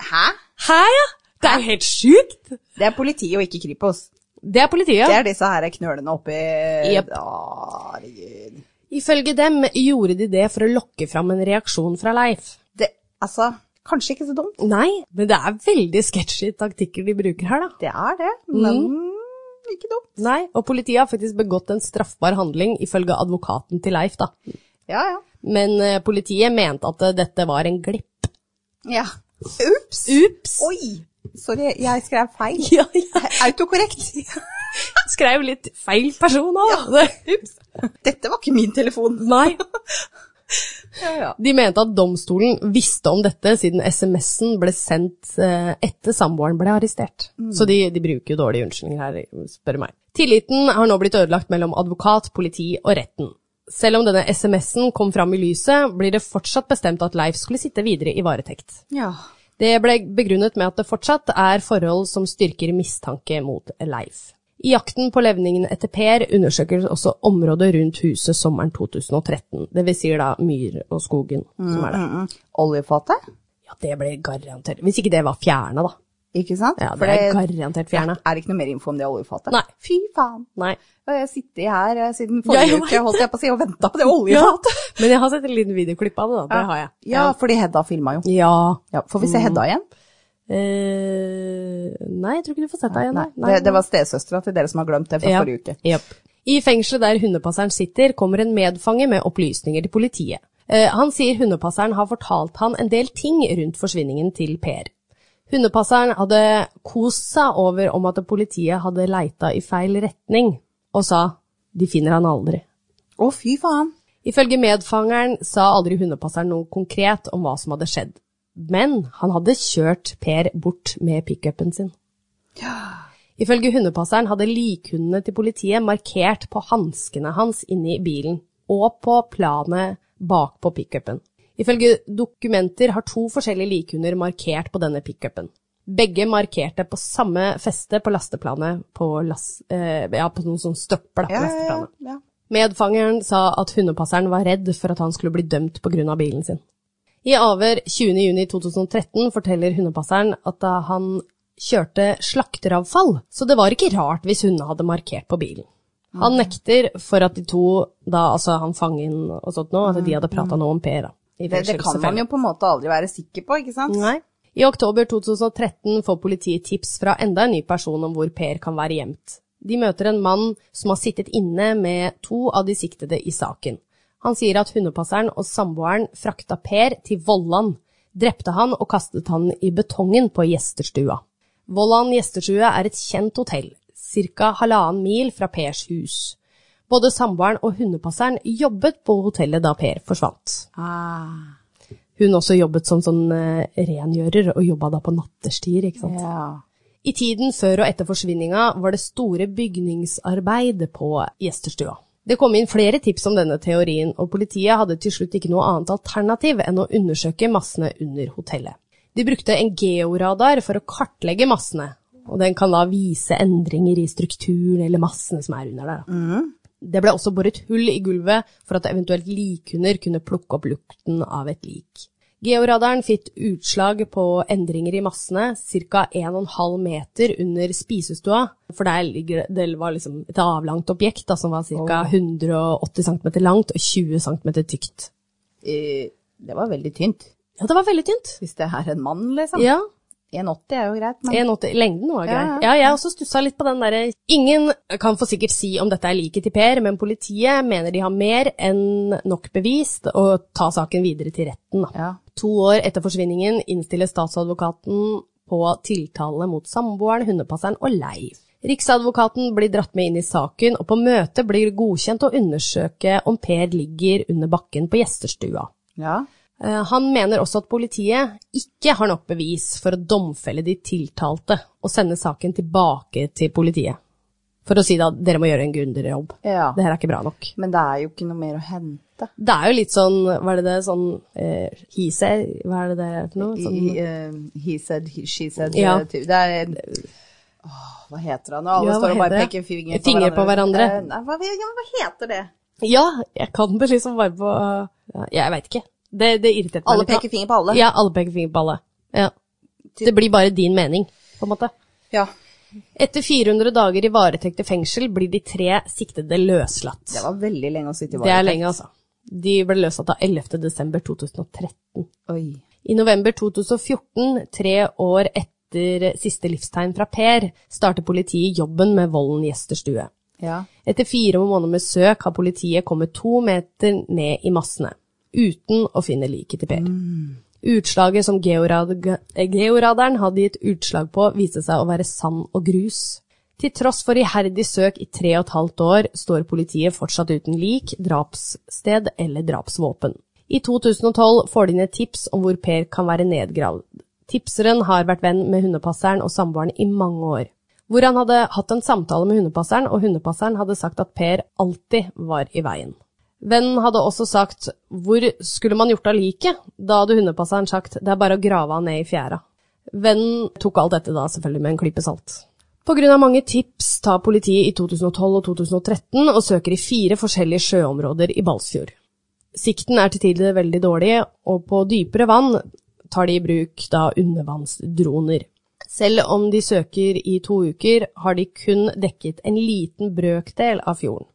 [SPEAKER 2] Hæ?
[SPEAKER 1] Hæ, ja? Det er jo helt sjukt!
[SPEAKER 2] Det er politiet og ikke Kripos.
[SPEAKER 1] Det er politiet.
[SPEAKER 2] Det er disse her knølene oppi
[SPEAKER 1] Jep.
[SPEAKER 2] Å, Herregud.
[SPEAKER 1] Ifølge dem gjorde de det for å lokke fram en reaksjon fra Leif.
[SPEAKER 2] Det, altså, kanskje ikke så dumt.
[SPEAKER 1] Nei, men det er veldig sketchy taktikker de bruker her, da.
[SPEAKER 2] Det er det, men
[SPEAKER 1] Mm.
[SPEAKER 2] ikke dumt.
[SPEAKER 1] Nei, og politiet har faktisk begått en straffbar handling, ifølge advokaten til Leif, da.
[SPEAKER 2] Ja, ja.
[SPEAKER 1] Men eh, politiet mente at eh, dette var en glipp.
[SPEAKER 2] ja. Ups.
[SPEAKER 1] Ups!
[SPEAKER 2] Oi! Sorry, jeg skrev feil.
[SPEAKER 1] Ja, jeg
[SPEAKER 2] Autokorrekt.
[SPEAKER 1] skrev litt feil person nå.
[SPEAKER 2] Ups. Dette var ikke min telefon.
[SPEAKER 1] Nei.
[SPEAKER 2] ja.
[SPEAKER 1] De mente at domstolen visste om dette siden SMS-en ble sendt eh, etter samboeren ble arrestert. Så de, de bruker jo dårlige unnskyldninger her, spør du meg. Tilliten har nå blitt ødelagt mellom advokat, politi og retten. Selv om denne SMS-en kom fram i lyset, blir det fortsatt bestemt at Leif skulle sitte videre i varetekt.
[SPEAKER 2] Ja.
[SPEAKER 1] Det ble begrunnet med at det fortsatt er forhold som styrker mistanke mot Leif. I jakten på levningen etter Per undersøkes også området rundt huset sommeren 2013, dvs. Si da myr og skogen som er der.
[SPEAKER 2] Mm, mm. Oljefatet,
[SPEAKER 1] Ja, det ble garantert. Hvis ikke det var fjerna, da.
[SPEAKER 2] ikke sant?
[SPEAKER 1] Ja,
[SPEAKER 2] For
[SPEAKER 1] det er garantert fjerna.
[SPEAKER 2] Er det ikke noe mer info om det oljefatet?
[SPEAKER 1] Nei.
[SPEAKER 2] Fy faen.
[SPEAKER 1] Nei.
[SPEAKER 2] Og jeg sitter her eh, siden forrige
[SPEAKER 1] Jeg vet
[SPEAKER 2] uke, holdt jeg på å si, og venta på det
[SPEAKER 1] Ja,
[SPEAKER 2] oljefatet.
[SPEAKER 1] men jeg har sett en liten videoklipp av det, da. Det har jeg. Mm.
[SPEAKER 2] Ja, fordi Hedda filma jo.
[SPEAKER 1] Ja.
[SPEAKER 2] Ja, får vi se Hedda igjen?
[SPEAKER 1] Eh, nei, jeg tror ikke du får sett deg igjen.
[SPEAKER 2] Nei, det, det var stesøstera til dere som har glemt det fra
[SPEAKER 1] Ja.
[SPEAKER 2] forrige uke.
[SPEAKER 1] Japp. I fengselet der hundepasseren sitter, kommer en medfange med opplysninger til politiet. Eh, han sier hundepasseren har fortalt han en del ting rundt forsvinningen til Per. Hundepasseren hadde kost seg over om at politiet hadde leita i feil retning, og sa de finner han aldri.
[SPEAKER 2] Å, fy faen.
[SPEAKER 1] Ifølge medfangeren sa aldri hundepasseren noe konkret om hva som hadde skjedd, men han hadde kjørt Per bort med pickupen sin. Ifølge hundepasseren hadde likhundene til politiet markert på hanskene hans inne i bilen, og på planet bak på pickupen. Ifølge dokumenter har to forskjellige likhunder markert på denne pickupen. Begge markerte på samme feste på lasteplanet, på, las, eh, ja, på noen sånn støpper da, på
[SPEAKER 2] Ja, ja, ja,
[SPEAKER 1] lasteplanet.
[SPEAKER 2] ja.
[SPEAKER 1] Medfangeren sa at hundepasseren var redd for at han skulle bli dømt pga. bilen sin. I avhør 20.6.2013 forteller hundepasseren at da han kjørte slakteravfall, så det var ikke rart hvis hundene hadde markert på bilen. Han nekter for at de to, da altså han fangen og sånt nå, at de hadde prata noe om Per. da. i
[SPEAKER 2] Det, det
[SPEAKER 1] fengsel,
[SPEAKER 2] kan
[SPEAKER 1] selvfølgelig.
[SPEAKER 2] man jo på en måte aldri være sikker på, ikke sant?
[SPEAKER 1] Nei. I oktober 2013 får politiet tips fra enda en ny person om hvor Per kan være gjemt. De møter en mann som har sittet inne med to av de siktede i saken. Han sier at hundepasseren og samboeren frakta Per til Vollan, drepte han og kastet han i betongen på gjesterstua. Vollan gjestestue er et kjent hotell, ca. halvannen mil fra Pers hus. Både samboeren og hundepasseren jobbet på hotellet da Per forsvant
[SPEAKER 2] Ah,
[SPEAKER 1] hun også jobbet som sånn eh, rengjører, og jobba da på nattestier, ikke sant.
[SPEAKER 2] ja.
[SPEAKER 1] I tiden før og etter forsvinninga var det store bygningsarbeid på gjesterstua. Det kom inn flere tips om denne teorien, og politiet hadde til slutt ikke noe annet alternativ enn å undersøke massene under hotellet. De brukte en georadar for å kartlegge massene, og den kan da vise endringer i strukturen eller massene som er under der. da. Det ble også boret hull i gulvet for at eventuelt likhunder kunne plukke opp lukten av et lik. Georadaren fikk utslag på endringer i massene ca. 1,5 meter under spisestua, for der ligger det, det var liksom et avlangt objekt da, som var ca. 180 cm langt og 20 cm tykt.
[SPEAKER 2] Eh, Det var veldig tynt.
[SPEAKER 1] Ja, det var veldig tynt.
[SPEAKER 2] Hvis det er en mann, liksom.
[SPEAKER 1] Ja,
[SPEAKER 2] 1,80 er jo greit, men
[SPEAKER 1] 1,80 lengden var grei.
[SPEAKER 2] Ja, ja.
[SPEAKER 1] Ja, jeg også stussa litt på den derre Ingen kan for sikkert si om dette er liket til Per, men politiet mener de har mer enn nok bevis å ta saken videre til retten. Da.
[SPEAKER 2] Ja.
[SPEAKER 1] To år etter forsvinningen innstiller statsadvokaten på tiltale mot samboeren, hundepasseren og Leiv. Riksadvokaten blir dratt med inn i saken, og på møtet blir det godkjent å undersøke om Per ligger under bakken på gjesterstua.
[SPEAKER 2] ja.
[SPEAKER 1] Eh, Han mener også at politiet ikke har nok bevis for å domfelle de tiltalte og sende saken tilbake til politiet. For å si da, dere må gjøre en grundigere jobb.
[SPEAKER 2] Ja.
[SPEAKER 1] Det her er ikke bra nok.
[SPEAKER 2] Men det er jo ikke noe mer å hente.
[SPEAKER 1] Det er jo litt sånn, hva er det det, sånn eh, he said, hva er det det er for noe? Sånn,
[SPEAKER 2] I, eh, he said, he, she said.
[SPEAKER 1] Ja.
[SPEAKER 2] eh, ty- Det er Åh, Hva heter han nå? Alle
[SPEAKER 1] Ja, hva
[SPEAKER 2] står og bare
[SPEAKER 1] heter
[SPEAKER 2] peker
[SPEAKER 1] det?
[SPEAKER 2] finger på
[SPEAKER 1] Finger
[SPEAKER 2] hverandre.
[SPEAKER 1] på hverandre.
[SPEAKER 2] Eh, Nei, hva, ja, men hva heter det?
[SPEAKER 1] ja, jeg kan det liksom bare på ja, Jeg veit ikke. Det, det irriterte meg
[SPEAKER 2] Alle
[SPEAKER 1] litt. da.
[SPEAKER 2] peker finger på alle.
[SPEAKER 1] Ja, alle peker finger på alle. Ja. Det blir bare din mening, på en måte.
[SPEAKER 2] Ja.
[SPEAKER 1] Etter 400 dager i varetekt i fengsel blir de tre siktede løslatt.
[SPEAKER 2] Det var veldig lenge å sitte i
[SPEAKER 1] Det er
[SPEAKER 2] varetekt.
[SPEAKER 1] lenge, altså. De ble løslatt av 11. desember 2013.
[SPEAKER 2] Oi.
[SPEAKER 1] I november 2014, tre år etter siste livstegn fra Per, starter politiet jobben med Vollen gjesterstue.
[SPEAKER 2] Ja.
[SPEAKER 1] Etter fire måneder med søk har politiet kommet to meter ned i massene, uten å finne liket til Per. Utslaget som georad eh, georadaren hadde gitt utslag på, viste seg å være sand og grus. Til tross for iherdig søk i tre og et halvt år, står politiet fortsatt uten lik, drapssted eller drapsvåpen. I 2012 får de inn et tips om hvor Per kan være nedgravd. Tipseren har vært venn med hundepasseren og samboeren i mange år, hvor han hadde hatt en samtale med hundepasseren, og hundepasseren hadde sagt at Per alltid var i veien. Vennen hadde også sagt hvor skulle man gjort av liket? Da hadde hundepasseren sagt det er bare å grave han ned i fjæra. Vennen tok alt dette da selvfølgelig med en klype salt. På grunn av mange tips tar politiet i 2012 og 2013 og søker i fire forskjellige sjøområder i Balsfjord. Sikten er til tider veldig dårlig, og på dypere vann tar de i bruk da undervannsdroner. Selv om de søker i to uker, har de kun dekket en liten brøkdel av fjorden.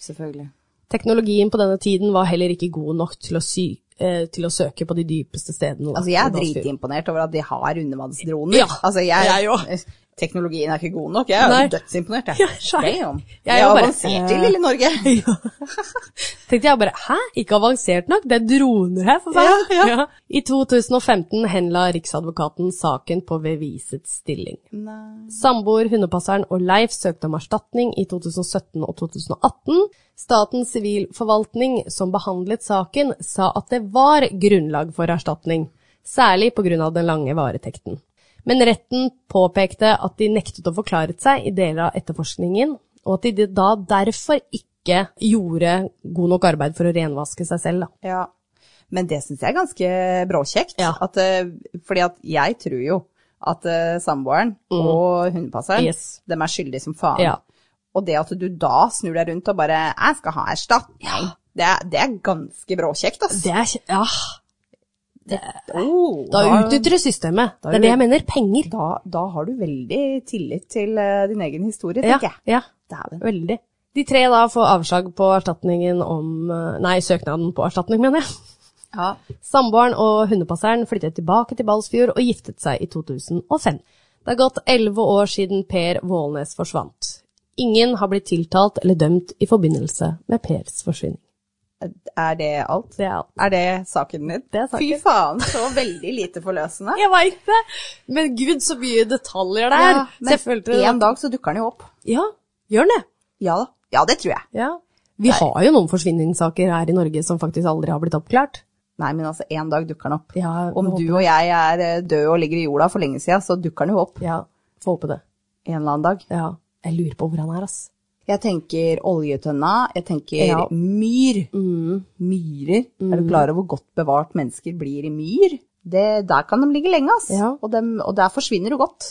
[SPEAKER 2] Selvfølgelig.
[SPEAKER 1] Teknologien på denne tiden var heller ikke god nok til å, sy eh, til å søke på de dypeste stedene.
[SPEAKER 2] Altså, jeg
[SPEAKER 1] i
[SPEAKER 2] er
[SPEAKER 1] Balsfjord.
[SPEAKER 2] dritimponert over at de har undervannsdroner.
[SPEAKER 1] Ja,
[SPEAKER 2] altså, jeg,
[SPEAKER 1] jeg
[SPEAKER 2] Teknologien er ikke god nok. Jeg er
[SPEAKER 1] Nei.
[SPEAKER 2] jo dødsimponert, jeg.
[SPEAKER 1] Ja, skjønner.
[SPEAKER 2] Damn.
[SPEAKER 1] Jeg
[SPEAKER 2] Jeg
[SPEAKER 1] er
[SPEAKER 2] er
[SPEAKER 1] bare-
[SPEAKER 2] avansert i lille Norge.
[SPEAKER 1] tenkte jeg bare hæ, ikke avansert nok, det er droner her, for faen.
[SPEAKER 2] Ja, ja.
[SPEAKER 1] I 2015 henla Riksadvokaten saken på bevisets stilling.
[SPEAKER 2] Nei.
[SPEAKER 1] Samboer, hundepasseren og Leif søkte om erstatning i 2017 og 2018. Statens sivilforvaltning, som behandlet saken, sa at det var grunnlag for erstatning, særlig pga. den lange varetekten. Men retten påpekte at de nektet å forklare seg i deler av etterforskningen, og at de da derfor ikke gjorde god nok arbeid for å renvaske seg selv. Da.
[SPEAKER 2] Ja. Men det syns jeg er ganske bråkjekt.
[SPEAKER 1] Ja.
[SPEAKER 2] At, eh, fordi at jeg tror jo at eh, samboeren og hundepasseren
[SPEAKER 1] Mm. Yes.
[SPEAKER 2] dem er skyldige som faen.
[SPEAKER 1] Ja.
[SPEAKER 2] Og det at du da snur deg rundt og bare 'jeg skal ha erstatning', det, er- det er ganske bråkjekt, altså.
[SPEAKER 1] Det er, kj- ja,
[SPEAKER 2] Oh,
[SPEAKER 1] da utnytter du systemet.
[SPEAKER 2] da
[SPEAKER 1] Det
[SPEAKER 2] er
[SPEAKER 1] er det
[SPEAKER 2] du-
[SPEAKER 1] jeg mener, penger.
[SPEAKER 2] da, da har du veldig tillit til eh, din egen historie,
[SPEAKER 1] Ja,
[SPEAKER 2] tenker jeg.
[SPEAKER 1] ja.
[SPEAKER 2] Dæven.
[SPEAKER 1] Veldig. De tre da får avslag på erstatningen om eh, Nei, søknaden på erstatning, mener jeg.
[SPEAKER 2] Ja.
[SPEAKER 1] Samboeren og hundepasseren flyttet tilbake til Balsfjord og giftet seg i 2005. Det har gått elleve år siden Per Vålnes forsvant. Ingen har blitt tiltalt eller dømt i forbindelse med Pers forsvinning.
[SPEAKER 2] Er det alt?
[SPEAKER 1] Det er alt.
[SPEAKER 2] Er det saken din?
[SPEAKER 1] Det er saken.
[SPEAKER 2] Fy faen, så veldig lite forløsende.
[SPEAKER 1] Jeg veit det! Men gud, så mye detaljer det er! Så jeg følte
[SPEAKER 2] men
[SPEAKER 1] det-
[SPEAKER 2] en dag så dukker den jo opp.
[SPEAKER 1] Ja, gjør det.
[SPEAKER 2] Ja da. Ja, det tror jeg.
[SPEAKER 1] Ja. Vi har jo noen forsvinningssaker her i Norge som faktisk aldri har blitt oppklart.
[SPEAKER 2] Nei, men altså, en dag dukker den opp.
[SPEAKER 1] Ja,
[SPEAKER 2] Om
[SPEAKER 1] håper-
[SPEAKER 2] du og jeg er eh, døde og ligger i jorda for lenge siden, så dukker den jo opp
[SPEAKER 1] Ja, får håpe det.
[SPEAKER 2] en eller annen dag.
[SPEAKER 1] Ja, jeg lurer på hvor han er, ass.
[SPEAKER 2] Jeg tenker oljetønna, jeg tenker
[SPEAKER 1] Ja. Mm.
[SPEAKER 2] myr. Myrer. Er du klar over hvor godt bevart mennesker blir i myr? Det, der kan de ligge lenge, ass.
[SPEAKER 1] Ja. Mm.
[SPEAKER 2] Og, dem, og der forsvinner du godt.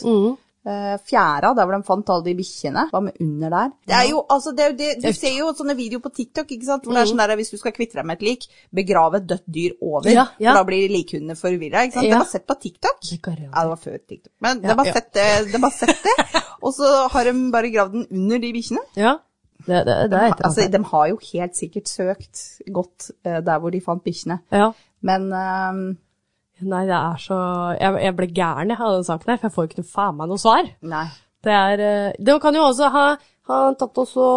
[SPEAKER 2] Eh, Fjæra, der hvor de fant alle de bikkjene. Hva med under der? Det er jo, altså, det er jo det, du ser jo sånne videoer på TikTok ikke sant? hvor det er
[SPEAKER 1] Mm.
[SPEAKER 2] sånn der hvis du skal kvitte deg med et lik, begrave et dødt dyr over.
[SPEAKER 1] Ja, ja.
[SPEAKER 2] For da blir likhundene forvirra. ikke sant?
[SPEAKER 1] Ja.
[SPEAKER 2] Det var sett på TikTok.
[SPEAKER 1] Det kan jeg gjøre.
[SPEAKER 2] Ja, det var før TikTok. Men det var
[SPEAKER 1] ja.
[SPEAKER 2] sett det. det, var sett det. Og så har de bare gravd den under de bikkjene.
[SPEAKER 1] Ja, det, det, det er et eller
[SPEAKER 2] Altså,
[SPEAKER 1] annet.
[SPEAKER 2] de har jo helt sikkert søkt godt eh, der hvor de fant bikkjene.
[SPEAKER 1] Ja.
[SPEAKER 2] Men ehm,
[SPEAKER 1] Nei, det er så Jeg, jeg ble gæren jeg, av den saken her, for jeg får ikke noe faen meg noe svar.
[SPEAKER 2] nei.
[SPEAKER 1] Det er eh, Det kan jo også ha, ha tatt også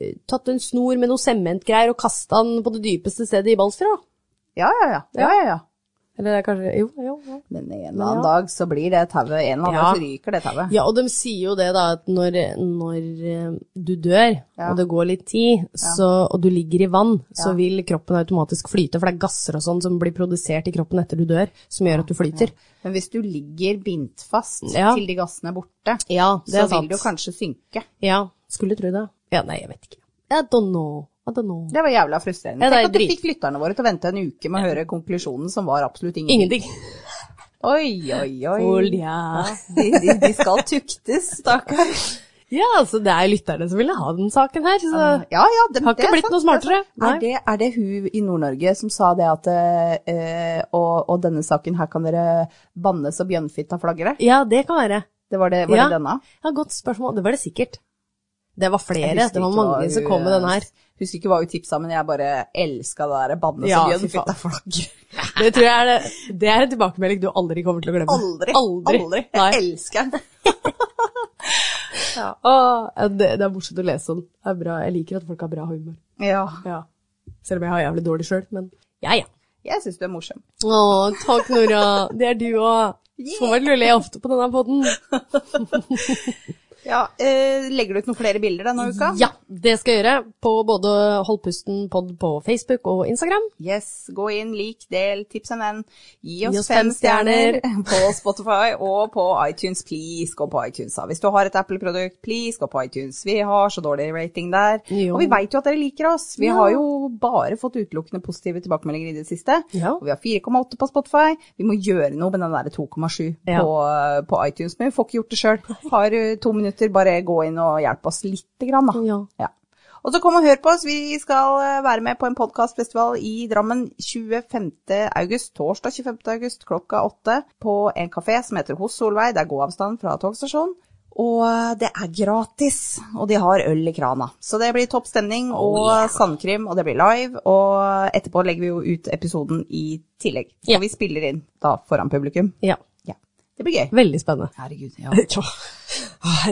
[SPEAKER 1] eh, Tatt en snor med noe sementgreier og kasta den på det dypeste stedet i Balsfjord, da.
[SPEAKER 2] Ja, ja, ja. ja, ja, ja.
[SPEAKER 1] Eller det er kanskje Jo, jo. jo.
[SPEAKER 2] Men en eller annen
[SPEAKER 1] Ja.
[SPEAKER 2] dag så blir det tauet En eller annen
[SPEAKER 1] Ja.
[SPEAKER 2] dag så ryker det tauet.
[SPEAKER 1] Ja, og de sier jo det, da, at når, når eh, du dør,
[SPEAKER 2] Ja.
[SPEAKER 1] og det går litt tid, så, og du ligger i vann, så
[SPEAKER 2] Ja.
[SPEAKER 1] vil kroppen automatisk flyte, for det er gasser og sånn som blir produsert i kroppen etter du dør, som gjør at du flyter.
[SPEAKER 2] Men hvis du ligger bindt fast
[SPEAKER 1] Ja.
[SPEAKER 2] til de gassene er borte,
[SPEAKER 1] Ja, det
[SPEAKER 2] så
[SPEAKER 1] er sant.
[SPEAKER 2] vil du kanskje synke.
[SPEAKER 1] Ja, skulle tro det. Ja, nei, jeg vet ikke. I don't know. I don't know.
[SPEAKER 2] Det var jævla frustrerende.
[SPEAKER 1] Ja, det er
[SPEAKER 2] Tenk at du
[SPEAKER 1] drit.
[SPEAKER 2] fikk lytterne våre til å vente en uke med å høre konklusjonen som var absolutt ingenting.
[SPEAKER 1] Ingenting.
[SPEAKER 2] Oi, oi, oi.
[SPEAKER 1] Olja.
[SPEAKER 2] De, de, de skal tuktes, stakkar.
[SPEAKER 1] Ja, altså det er lytterne som ville ha den saken her, så
[SPEAKER 2] Ja, ja, dem-
[SPEAKER 1] Har ikke
[SPEAKER 2] det er
[SPEAKER 1] blitt
[SPEAKER 2] sant,
[SPEAKER 1] noe smartere.
[SPEAKER 2] det Er, sant. er, det, er det hun i Nord-Norge som sa det at eh, og, og denne saken her kan dere banne så bjønnfitta flagrer?
[SPEAKER 1] ja, det kan være.
[SPEAKER 2] Det var det, var
[SPEAKER 1] Ja.
[SPEAKER 2] det denne?
[SPEAKER 1] Ja, godt spørsmål. Det var det sikkert. Det var
[SPEAKER 2] Jeg
[SPEAKER 1] flere,
[SPEAKER 2] husker
[SPEAKER 1] det var
[SPEAKER 2] ikke hva
[SPEAKER 1] mange som
[SPEAKER 2] hun-
[SPEAKER 1] kom med den her.
[SPEAKER 2] Husker ikke hva hun tipsa, men jeg bare elska det der banne
[SPEAKER 1] Ja, fy
[SPEAKER 2] så
[SPEAKER 1] faen.
[SPEAKER 2] bjønnfitta flagrer.
[SPEAKER 1] Det tror jeg er det. Det er en tilbakemelding du aldri kommer til å glemme.
[SPEAKER 2] Aldri.
[SPEAKER 1] Aldri.
[SPEAKER 2] Jeg
[SPEAKER 1] Nei.
[SPEAKER 2] elsker den.
[SPEAKER 1] Åh, ja, det, det er morsomt å lese om. Det er bra. Jeg liker at folk har bra humor.
[SPEAKER 2] Ja.
[SPEAKER 1] Ja. Selv om jeg har jævlig dårlig sjøl, men ja, ja.
[SPEAKER 2] Jeg syns du er morsom.
[SPEAKER 1] Å, takk Nora. Det er du òg. Får vel le ofte på denne poden.
[SPEAKER 2] Ja, eh, legger du ut noen flere bilder denne uka?
[SPEAKER 1] Ja, det skal jeg gjøre på både Hold pusten pod på Facebook og Instagram.
[SPEAKER 2] Yes, gå inn, lik, del, tips en venn. Gi
[SPEAKER 1] Gi
[SPEAKER 2] oss,
[SPEAKER 1] oss
[SPEAKER 2] fem
[SPEAKER 1] fem
[SPEAKER 2] stjerner på Spotify og på iTunes. Please, gå på iTunes. da. Hvis du har et Apple-produkt, please, gå på iTunes. Vi har så dårlig rating der.
[SPEAKER 1] Jo.
[SPEAKER 2] Og vi veit jo at dere liker oss. Vi har jo bare fått utelukkende positive tilbakemeldinger i det siste.
[SPEAKER 1] Ja.
[SPEAKER 2] Og vi har 4,8 på Spotify. Vi må gjøre noe med den derre 2,7
[SPEAKER 1] Ja.
[SPEAKER 2] på, eh, på iTunes, men vi får ikke gjort det sjøl. Har eh, to minutter, bare gå inn og hjelp oss lite grann, da.
[SPEAKER 1] Ja.
[SPEAKER 2] Ja. Og så kom og hør på oss. Vi skal eh, være med på en podkastfestival i Drammen 25. august, torsdag 25. august klokka åtte på en kafé som heter Hos Solveig. Det er gåavstand fra togstasjonen. Og eh, det er gratis, og de har øl i krana. Så det blir topp stemning og sandkrim, og det blir live. Og eh, etterpå legger vi jo ut episoden i tillegg.
[SPEAKER 1] Ja.
[SPEAKER 2] Og vi spiller inn da foran publikum.
[SPEAKER 1] ja.
[SPEAKER 2] Ja. Det blir gøy.
[SPEAKER 1] Veldig spennende.
[SPEAKER 2] Herregud, ja.
[SPEAKER 1] Ja.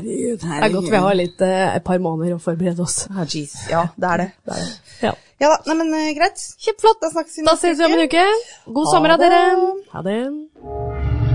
[SPEAKER 1] Det er godt vi har litt, eh, et par måneder å forberede oss.
[SPEAKER 2] Ah, jeez. Ja, det er det. det, er det.
[SPEAKER 1] Ja.
[SPEAKER 2] Ja da, nei, men eh, greit. Kjempeflott. Da snakkes vi
[SPEAKER 1] Da ses vi om en uke. God sommer av
[SPEAKER 2] det.
[SPEAKER 1] dere. Ha det.